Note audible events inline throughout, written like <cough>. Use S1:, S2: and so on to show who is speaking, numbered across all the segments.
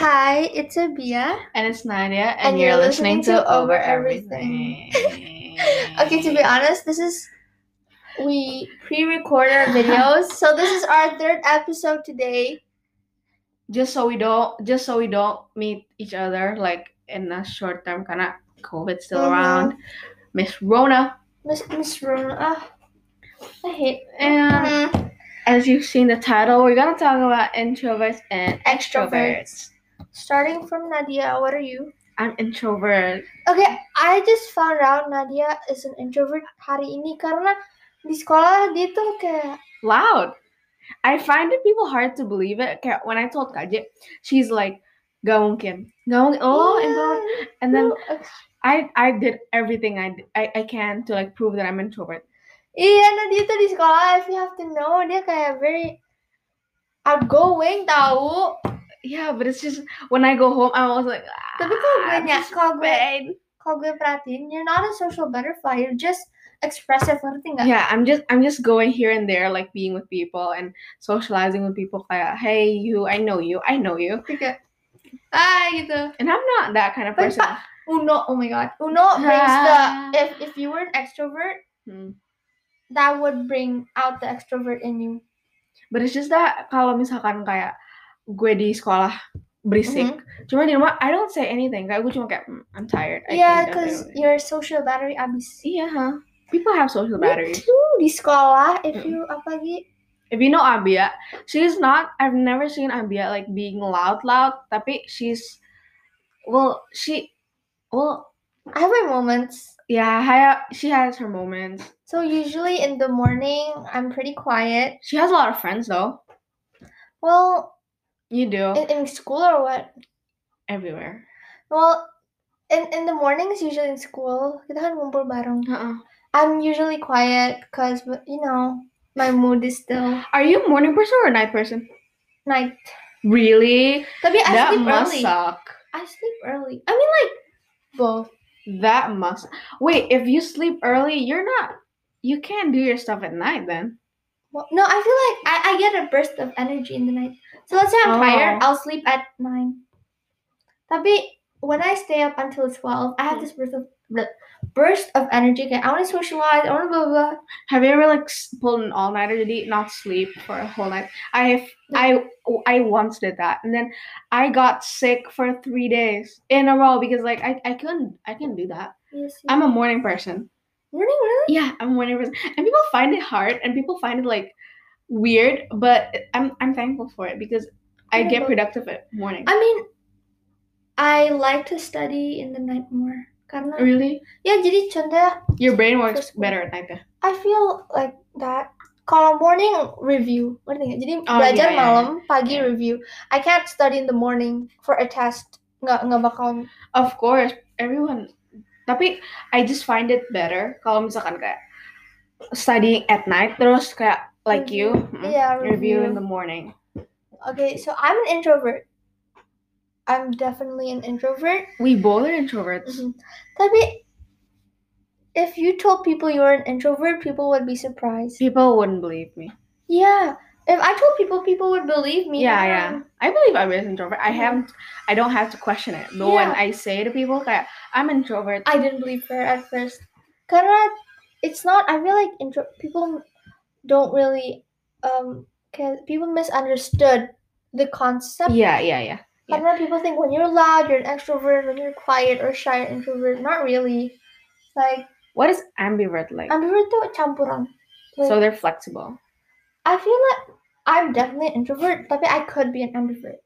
S1: it's Abia.
S2: And it's Nadia,
S1: And you're listening to Over Everything. <laughs> Okay, to be honest, this is we pre-record our videos, so this is our third episode today.
S2: just so we don't, just so we don't meet each other like in a short term, karena COVID still
S1: Mhm.
S2: around. Miss Rona,
S1: Miss Miss Runa, ah, I hate.
S2: and
S1: Mm,
S2: as you've seen the title, we're gonna talk about introverts and
S1: extroverts.
S2: extroverts.
S1: Starting from Nadia, what are you?
S2: I'm introvert.
S1: Okay, I just found out Nadia is an introvert hari ini karena di sekolah dia tuh kayak
S2: loud. I find it people hard to believe it. Kayak when I told Kaje, she's like, gak mungkin. Gak mungkin. Oh, and, gak mungkin."
S1: "Yeah,
S2: and then
S1: no, uh, ex-
S2: I I did everything I, d- I I can to like prove that I'm introvert.
S1: Iya, Nadia tuh di sekolah, if you have to know, dia kayak very outgoing tahu.
S2: Yeah, but it's just when I go home, I was like,
S1: Tapi kalau gue
S2: "Ah,
S1: nya,
S2: this
S1: kalau gue
S2: bad."
S1: kalau gue perhatiin, you're not a social butterfly, you're just expressive, ngerti nggak?
S2: yeah, I'm just I'm just going here and there, like being with people and socializing with people. Kayak, hey, you, I know you, I know you,
S1: Tiga. Ah, gitu.
S2: and I'm not that kind of
S1: But
S2: person.
S1: Uno, oh my god.
S2: <laughs>
S1: Uno brings the
S2: Ah.
S1: if if you were an extrovert,
S2: Hmm.
S1: that would bring out the extrovert in you.
S2: But it's just that kalau misalkan kayak gue di sekolah berisik, cuma di rumah I don't say anything. Kayak gue cuma kayak "Mm, I'm tired. I
S1: Mm-hmm. Yeah,
S2: can't do
S1: because
S2: it."
S1: your social battery abis.
S2: iya, huh? people have social
S1: Me
S2: batteries.
S1: too. Di sekolah, if
S2: Mm.
S1: you apa lagi?
S2: If you know Abia, she's not. I've never seen Abia like being loud, loud. Tapi she's well, she well,
S1: I have my moments.
S2: yeah, haya- she has her moments.
S1: So usually in the morning, I'm pretty quiet.
S2: She has a lot of friends though.
S1: Well,
S2: You do
S1: in, in school or what?
S2: everywhere.
S1: Well, in in the mornings usually in school, kita kan ngumpul bareng.
S2: Uh-uh.
S1: I'm usually quiet because you know my mood is still
S2: Are you a morning person or a night person?
S1: night.
S2: Really?
S1: Tapi I
S2: that
S1: sleep
S2: must
S1: early.
S2: suck.
S1: I sleep early. I mean like both.
S2: That must wait. If you sleep early, you're not. You can't do your stuff at night then.
S1: Well, no, I feel like I, I get a burst of energy in the night. So let's say I'm tired,
S2: Oh.
S1: I'll sleep at nine. Tapi when I stay up until twelve, I have
S2: Hmm.
S1: this burst of bleh, burst of energy. Okay, I want to socialize. I want to blah blah. blah.
S2: Have you ever like s- pulled an all nighter? Did you not sleep for a whole night? I have. I I once did that, and then I got sick for three days in a row because like I I couldn't I couldn't do that.
S1: Yes, yes.
S2: I'm a morning person.
S1: really really.
S2: Yeah, I'm a morning person, and people find it hard, and people find it like weird, but I'm I'm thankful for it because I
S1: Yeah,
S2: get
S1: but-
S2: productive at morning.
S1: I mean, I like to study in the night more. Karena
S2: Really,
S1: ya jadi contohnya
S2: your brain works
S1: First one.
S2: better at night. then.
S1: I feel like that. Kalau morning review, ngerti nggak? Jadi
S2: Oh,
S1: belajar
S2: iya, iya,
S1: malam, pagi
S2: Iya.
S1: review. I can't study in the morning for a test. Nggak nggak bakal.
S2: Of course, everyone. Tapi I just find it better kalau misalkan kayak studying at night terus kayak like you mm,
S1: Mm-hmm. Yeah,
S2: review in
S1: review.
S2: the morning.
S1: Okay, so I'm an introvert. I'm definitely an introvert.
S2: We both are introverts.
S1: Mhm. Tapi if you told people you were an introvert, people would be surprised.
S2: People wouldn't believe me.
S1: Yeah. If I told people, people would believe me.
S2: yeah,
S1: karena
S2: yeah. I believe I'm an introvert. I
S1: Mhm.
S2: haven't. I don't have to question it. But when I say to people kayak I'm introvert,
S1: I didn't believe her at first. Karena it's not. I feel like intro people don't really um can people misunderstood the concept.
S2: yeah, yeah, yeah. yeah.
S1: Karena people think when you're loud, you're an extrovert. When you're quiet or shy, you're introvert. Not really. Like
S2: What is ambivert like?
S1: ambivert tuh campuran. Like,
S2: so they're flexible.
S1: I feel like I'm definitely an introvert, but I could be an ambivert.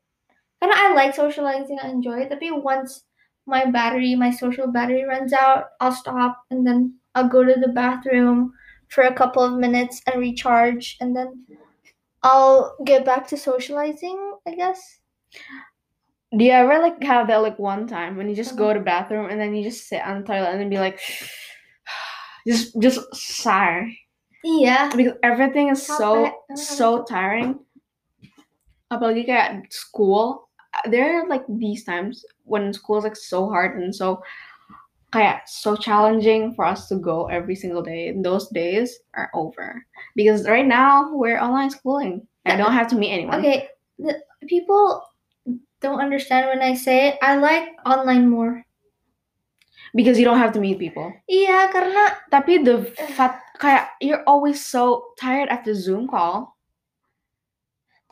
S1: And I like socializing, I enjoy it. But once my battery, my social battery runs out, I'll stop and then I'll go to the bathroom for a couple of minutes and recharge and then I'll get back to socializing, I guess.
S2: Do you ever like have that like one time when you just go to bathroom and then you just sit on the toilet and then be like, <sighs> just just sigh
S1: Yeah.
S2: because everything is so
S1: Capek, karena
S2: so tiring. Apalagi kayak school, uh, there are like these times when school is like so hard and so kayak so challenging for us to go every single day. And those days are over because right now we're online schooling. I don't have to meet anyone.
S1: Okay, the people don't understand when I say it, I like online more.
S2: because you don't have to meet people.
S1: Iya, karena
S2: Tapi the
S1: Eh.
S2: fat kayak you're always so tired after Zoom call.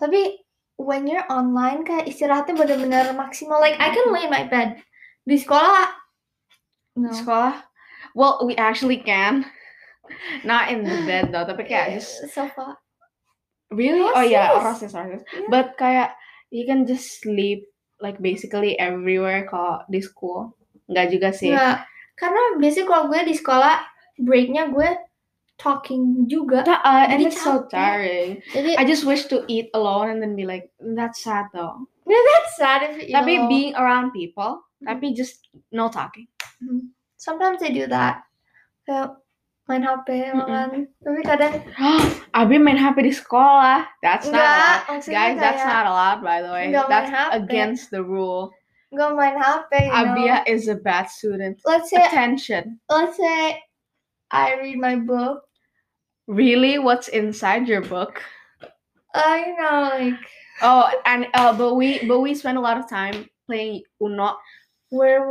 S1: tapi when you're online kayak istirahatnya benar-benar maksimal. Like I can lay in my bed. Di sekolah no.
S2: Di Sekolah. Well, we actually can. <laughs> Not in the bed though, tapi kayak just
S1: sofa.
S2: really oh yeah,
S1: Rosis.
S2: rosis rosis.
S1: Yeah.
S2: But kayak you can just sleep like basically everywhere kalau di school. Enggak juga sih.
S1: Nggak. karena biasanya kalau gue di sekolah breaknya gue talking juga.
S2: Ta- uh,
S1: Jadi
S2: and it's so
S1: capek.
S2: tiring.
S1: Jadi
S2: I just wish to eat alone and then be like, that's sad though.
S1: <laughs> that's sad if you
S2: Tapi
S1: know.
S2: being around people,
S1: Mhm.
S2: tapi just no talking. <gasps>
S1: Mhm. Sometimes I do that. Kayak main HP
S2: Mm-mm.
S1: makan. Tapi kadang
S2: Abi main HP di sekolah. That's not
S1: enggak.
S2: allowed.
S1: maksudnya
S2: Guys, that's
S1: kayak
S2: not allowed by the way.
S1: Nggak main
S2: That's
S1: HP.
S2: against the rule.
S1: enggak main HP. eh. you know.
S2: Abia is a bad student.
S1: Let's say
S2: Attention.
S1: let's say I read my book.
S2: Really? What's inside your book?
S1: I know like
S2: Oh, and uh, but we but we spend a lot of time playing Uno.
S1: where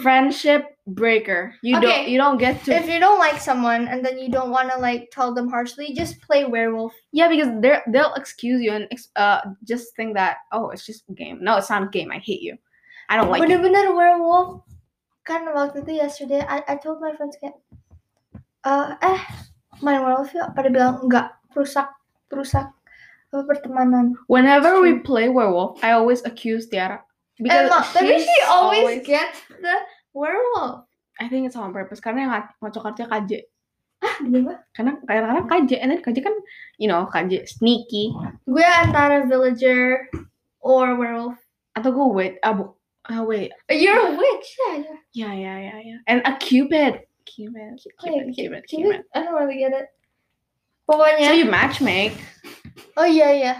S2: Friendship breaker. You
S1: Okay.
S2: don't you don't get to
S1: if you don't like someone and then you don't want to like tell them harshly, just play werewolf.
S2: Yeah, because they are they'll excuse you and ex- uh just think that oh it's just a game. No, it's not a game. I hate you. I don't like you.
S1: Bener-bener werewolf. Kan waktu itu yesterday I, I told my friends kayak "Eh, eh main werewolf yuk. Pada bilang enggak, perusak perusak apa, pertemanan.
S2: Whenever we play werewolf, I always accuse Tiara because
S1: Emang, tapi she
S2: she's
S1: always, gets the werewolf.
S2: I think it's on purpose karena yang ngac- ngocok artinya KJ.
S1: Ah, gimana?
S2: Karena kadang-kadang KJ, and then KJ kan you know KJ sneaky
S1: Gue antara villager or werewolf.
S2: atau gue wait abu ah wait
S1: You're a witch, yeah. You're,
S2: yeah yeah yeah yeah and a cupid cupid cupid
S1: Wait,
S2: cupid
S1: can you-
S2: cupid.
S1: I don't really get it.
S2: So
S1: Pokoknya,
S2: you matchmake.
S1: oh iya iya.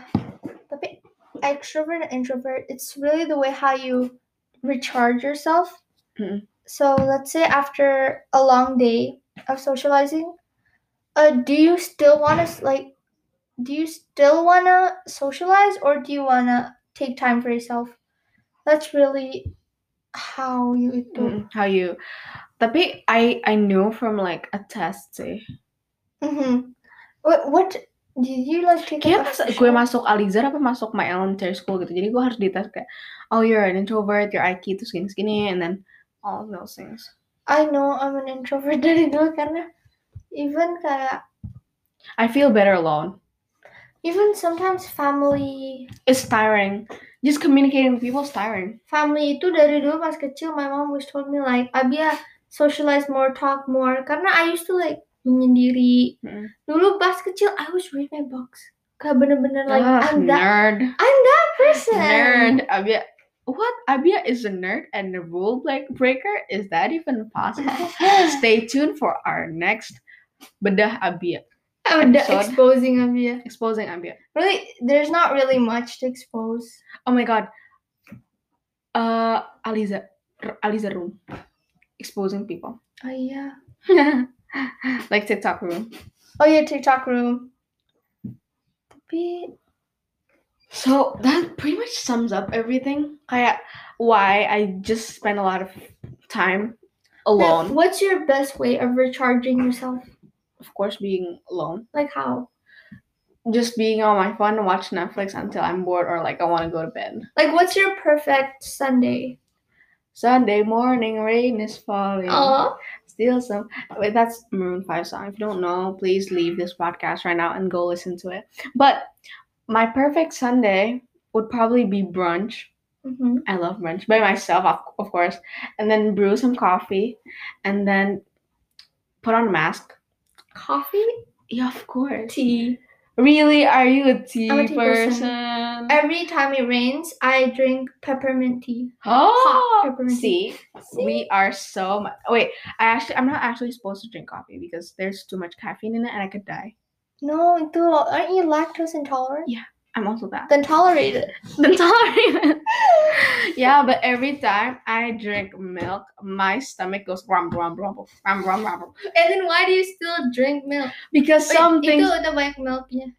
S1: Tapi extrovert and introvert, it's really the way how you recharge yourself.
S2: Mm.
S1: So let's say after a long day of socializing, uh, do you still want to like, do you still want to socialize or do you want to take time for yourself? That's really how you do.
S2: Mm, How you? Tapi I I knew from like a test sih.
S1: hmm What what did you like take?
S2: Mm-hmm.
S1: up
S2: Kayaknya pas
S1: social-
S2: gue masuk Alizar apa masuk my elementary school gitu. Jadi gue harus dites kayak, oh you're an introvert, your IQ itu segini-segini, and then all of those things.
S1: I know I'm an introvert <laughs> dari dulu karena even kayak
S2: I feel better alone.
S1: even sometimes family
S2: It's tiring. Just communicating with people is tiring.
S1: family itu dari dulu pas kecil my mom always told me like Abia socialize more talk more karena I used to like menyendiri
S2: Mm.
S1: dulu pas kecil I always read my books kayak bener-bener like
S2: Ugh,
S1: I'm that
S2: Ah, nerd.
S1: I'm that person
S2: Nerd. Abia. What? Abia is a nerd and a rule break- breaker? Is that even possible? <laughs> Stay tuned for our next bedah Abia.
S1: <laughs> I'm that
S2: Episode.
S1: exposing Abia
S2: Exposing Abia.
S1: really there's not really much to expose
S2: Oh my god. Uh, Aliza, R- Aliza room, exposing people, <laughs>
S1: oh iya
S2: like TikTok room.
S1: oh iya TikTok room tapi
S2: So that pretty much sums up everything. Kayak why I just spend a lot of time
S1: Now,
S2: alone.
S1: What's your best way of recharging yourself?
S2: Of course, being alone,
S1: Like how?
S2: just being on my phone, watch Netflix until I'm bored or like I want to go to bed.
S1: Like what's your perfect Sunday?
S2: Sunday morning, rain is falling.
S1: Oh,
S2: Still some. Wait, that's Maroon 5 song. If you don't know, please leave this podcast right now and go listen to it. But my perfect Sunday would probably be brunch.
S1: hmm
S2: I love brunch by myself, of, of course. And then brew some coffee and then put on a mask.
S1: coffee,
S2: Yeah, of course.
S1: tea.
S2: Really? Are you a tea,
S1: I'm a tea person.
S2: person?
S1: Every time it rains, I drink peppermint tea.
S2: Oh,
S1: Hot peppermint
S2: see, we are so much. Wait, I actually, I'm not actually supposed to drink coffee because there's too much caffeine in it and I could die.
S1: No, itu aren't you lactose intolerant?
S2: Yeah. I'm also <laughs> that.
S1: Then tolerate it.
S2: Then sorry. yeah, but every time I drink milk, my stomach goes rum rum rumble rum rum rumble
S1: <laughs> And then why do you still drink milk?
S2: because
S1: Wait,
S2: some things
S1: itu udah banyak milknya.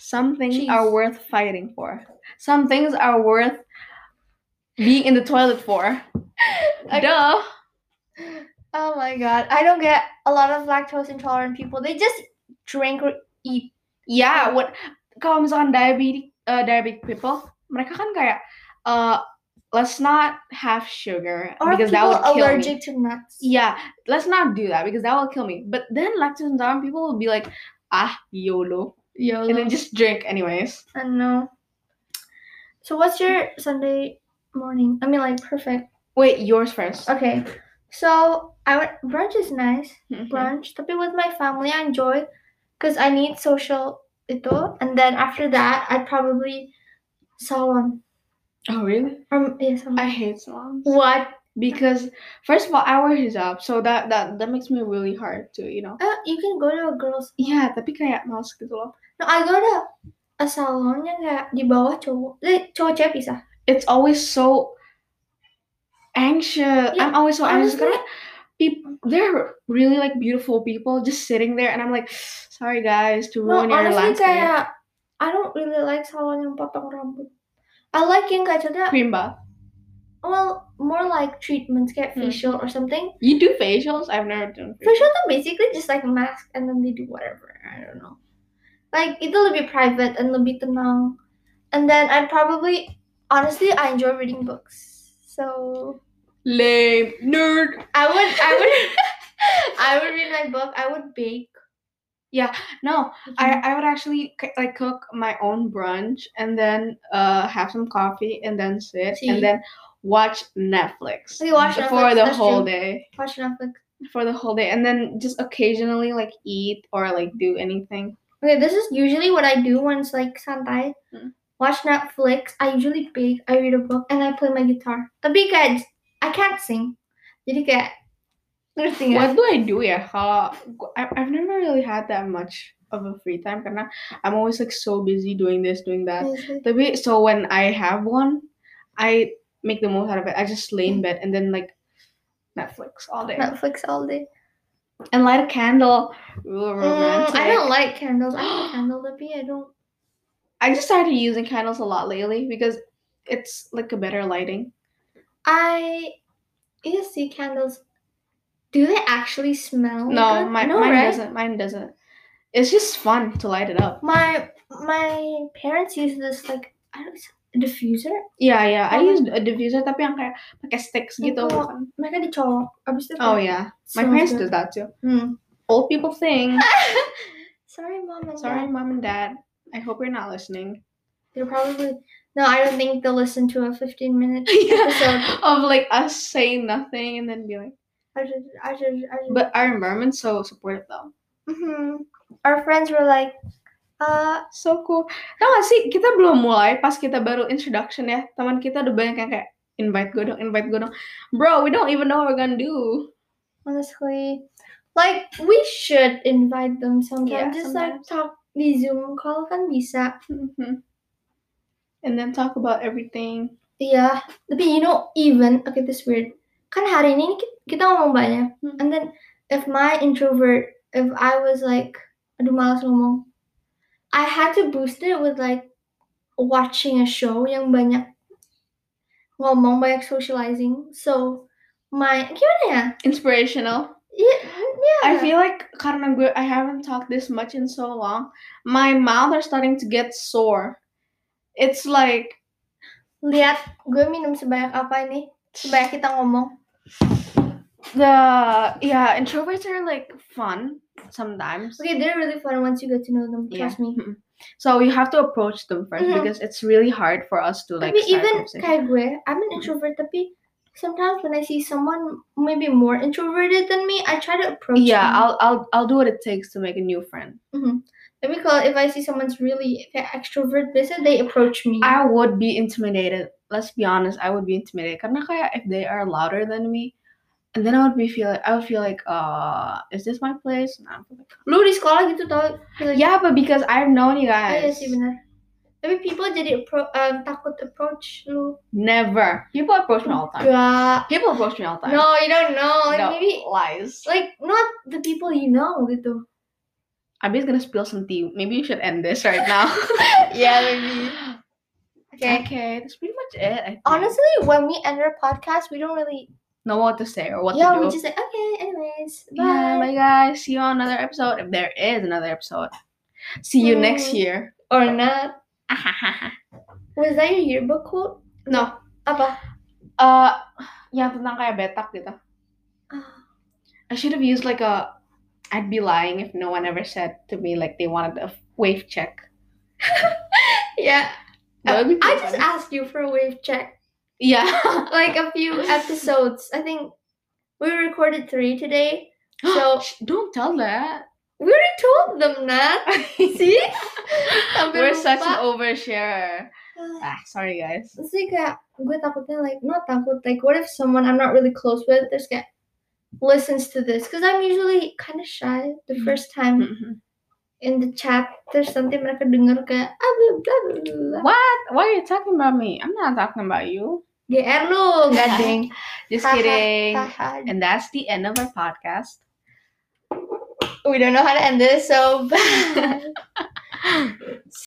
S2: some things
S1: Cheese.
S2: are worth fighting for. Some things are worth being in the toilet for.
S1: <laughs> I-
S2: Duh.
S1: Oh my god. I don't get a lot of lactose intolerant people. They just drink or eat.
S2: Ya, what kalau misalkan diabetic uh, diabetic people, mereka kan kayak uh, let's not have sugar
S1: Or
S2: because that
S1: people
S2: would kill me.
S1: allergic to nuts.
S2: Yeah, let's not do that because that will kill me. But then lactose intolerant people will be like, ah, YOLO,
S1: YOLO.
S2: and then just drink anyways.
S1: I know. So what's your Sunday morning? I mean like perfect.
S2: Wait, yours first.
S1: Okay. So I went brunch is nice.
S2: Mhm.
S1: Brunch. Tapi with my family I enjoy because I need social itu. And then after that I probably salon.
S2: Oh really?
S1: Um yeah, salon.
S2: I hate salons
S1: what?
S2: because first of all, I wear hijab, so that that that makes me really hard to you know.
S1: Uh, you can go to a girl's
S2: Yeah, tapi kayak males gitu loh.
S1: No, I go to a salon yang kayak di bawah cowok. Eh, cowok cewek pisah.
S2: it's always so anxious. I'm always so anxious.
S1: honestly.
S2: Karena people, they're really like beautiful people just sitting there, and I'm like, sorry guys to
S1: No,
S2: ruin your
S1: honestly
S2: landscape.
S1: kayak I don't really like salon yang potong rambut. I like yang kayak cerita,
S2: Creamba,
S1: well, more like treatments kayak
S2: Hmm.
S1: facial or something.
S2: you do facials? I've never done facials.
S1: Facial tuh basically just like mask and then they do whatever. I don't know. Like itu lebih private and lebih tenang. And then I'd probably, honestly, I enjoy reading books. So
S2: Lame nerd.
S1: I would, I would, I would <laughs> read my book. I would bake.
S2: No, I I would actually c- like cook my own brunch and then uh have some coffee and then sit
S1: See?
S2: and then watch Netflix
S1: Okay, watch
S2: for
S1: Netflix,
S2: the
S1: that's
S2: whole
S1: true.
S2: day.
S1: watch Netflix.
S2: For the whole day, and then just occasionally like eat or like do anything.
S1: Okay, this is usually what I do when it's like santai.
S2: Hmm.
S1: Watch Netflix. I usually bake. I read a book and I play my guitar. Tapi kayak I can't sing. Jadi kayak ngerti nggak?
S2: What do I do ya kalau gu- I, I've never really had that much of a free time karena I'm always like so busy doing this doing that. Tapi so when I have one, I make the most out of it. I just lay in bed and then like Netflix all day
S1: Netflix all day.
S2: and light a candle. Ooh,
S1: Mm,
S2: romantic.
S1: I don't like candles. I <gasps> like candle tapi I don't.
S2: I just started using candles a lot lately because it's like a better lighting.
S1: I you see candles. Do they actually smell? like
S2: No,
S1: that?
S2: Oh my,
S1: no,
S2: mine
S1: right?
S2: doesn't. Mine doesn't. It's just fun to light it up.
S1: My my parents use this like I don't diffuser.
S2: Yeah, yeah. I
S1: Oh.
S2: used a diffuser tapi yang kayak pakai sticks gitu.
S1: Oh.
S2: bukan?
S1: Mereka dicolok. Abis itu
S2: Oh
S1: kayak
S2: yeah. My
S1: smells
S2: parents
S1: good.
S2: do that too. <laughs>
S1: Hmm.
S2: Old people thing.
S1: Sorry, mom and
S2: Sorry,
S1: dad.
S2: mom and dad. I hope you're not listening.
S1: They're probably no. I don't think they'll listen to a fifteen
S2: <laughs>
S1: minute episode.
S2: yeah. Of like us saying nothing and then be like,
S1: I should. I should. I should.
S2: but our environment's so supportive though.
S1: Mhm. our friends were like, uh,
S2: So cool. Tau gak sih, kita belum mulai pas kita baru introduction ya. Teman kita udah banyak yang kayak invite gue dong, invite gue dong. Bro, we don't even know what we're gonna do. <laughs>
S1: honestly, like we should invite them sometimes.
S2: Yeah,
S1: Just like
S2: sometimes.
S1: talk di Zoom call kan bisa.
S2: Mhm. and then talk about everything.
S1: Iya. Tapi you know even okay this weird. Kan hari ini ki- kita ngomong banyak.
S2: Hmm.
S1: And then if my introvert, if I was like, aduh malas ngomong, I had to boost it with like watching a show yang banyak ngomong, banyak socializing. So my gimana ya?
S2: Inspirational.
S1: Iya, yeah.
S2: I feel like karena gue I haven't talked this much in so long, my mouth are starting to get sore. It's like
S1: lihat gue minum sebanyak apa ini, sebanyak kita ngomong.
S2: the yeah introverts are like fun sometimes.
S1: Okay, they're really fun once you get to know them.
S2: Yeah.
S1: Trust me.
S2: Mhm. So you have to approach them 1st
S1: Mhm.
S2: because it's really hard for us to like.
S1: tapi
S2: start
S1: even
S2: conversation.
S1: kayak gue, I'm an introvert tapi sometimes when I see someone maybe more introverted than me, I try to approach
S2: yeah,
S1: them.
S2: I'll I'll I'll do what it takes to make a new friend.
S1: Mhm. Tapi kalau if I see someone's really kayak extrovert, biasanya they approach me.
S2: I would be intimidated. Let's be honest, I would be intimidated. Karena kayak if they are louder than me, and then I would be feel I would feel like uh is this my place? And I would be like,
S1: Lu di sekolah gitu tau? Kayak,
S2: Yeah, but because I've known
S1: "Oh,
S2: you guys.
S1: iya sih benar. Tapi people jadi appro- eh, takut approach lu.
S2: Never. People approach me all the time.
S1: Gak.
S2: People approach me all the time.
S1: No, you don't know. Like
S2: No,
S1: maybe
S2: lies.
S1: like not the people you know gitu. <laughs> <gasps>
S2: Abby's gonna spill some tea. Maybe you should end this right now.
S1: yeah, maybe. I Okay.
S2: Okay, that's pretty much it. I think.
S1: Honestly, when we end our podcast, we don't really
S2: know what to say or what
S1: yeah,
S2: to do.
S1: we just like okay, anyways, bye.
S2: Yeah, bye guys. See you on another episode. If there is another episode, see you next
S1: Hmm. <laughs>
S2: year.
S1: or not. Was that your yearbook quote?
S2: no.
S1: Apa?
S2: Uh, yang tentang kayak betak gitu.
S1: Ah,
S2: I should have used like a. I'd be lying if no one ever said to me like they wanted a wave check.
S1: <sighs> yeah,
S2: That would be
S1: I
S2: pretty
S1: just
S2: funny.
S1: asked you for a wave check
S2: <gasps> yeah.
S1: like a <laughs> few episodes. I think we recorded three today.
S2: So
S1: So-
S2: don't tell <laughs> that.
S1: We already told them <laughs> that. See? Sampai
S2: We're such an
S1: lupa.
S2: oversharer.
S1: Uh,
S2: Ah, sorry guys. <laughs>
S1: It's like kayak gue takutnya like not takut like what if someone I'm not really close with just get listens to this because I'm usually kind of shy the
S2: Mhm.
S1: first time in the chat there's something mereka denger kayak ah blah blah blah, blah.
S2: What? Why are you talking about me? I'm not talking about you.
S1: GR lu gading
S2: <laughs> Just
S1: Haha,
S2: kidding.
S1: Haha. <laughs>
S2: And that's the end of our podcast. <laughs>
S1: we don't know how to end this so bye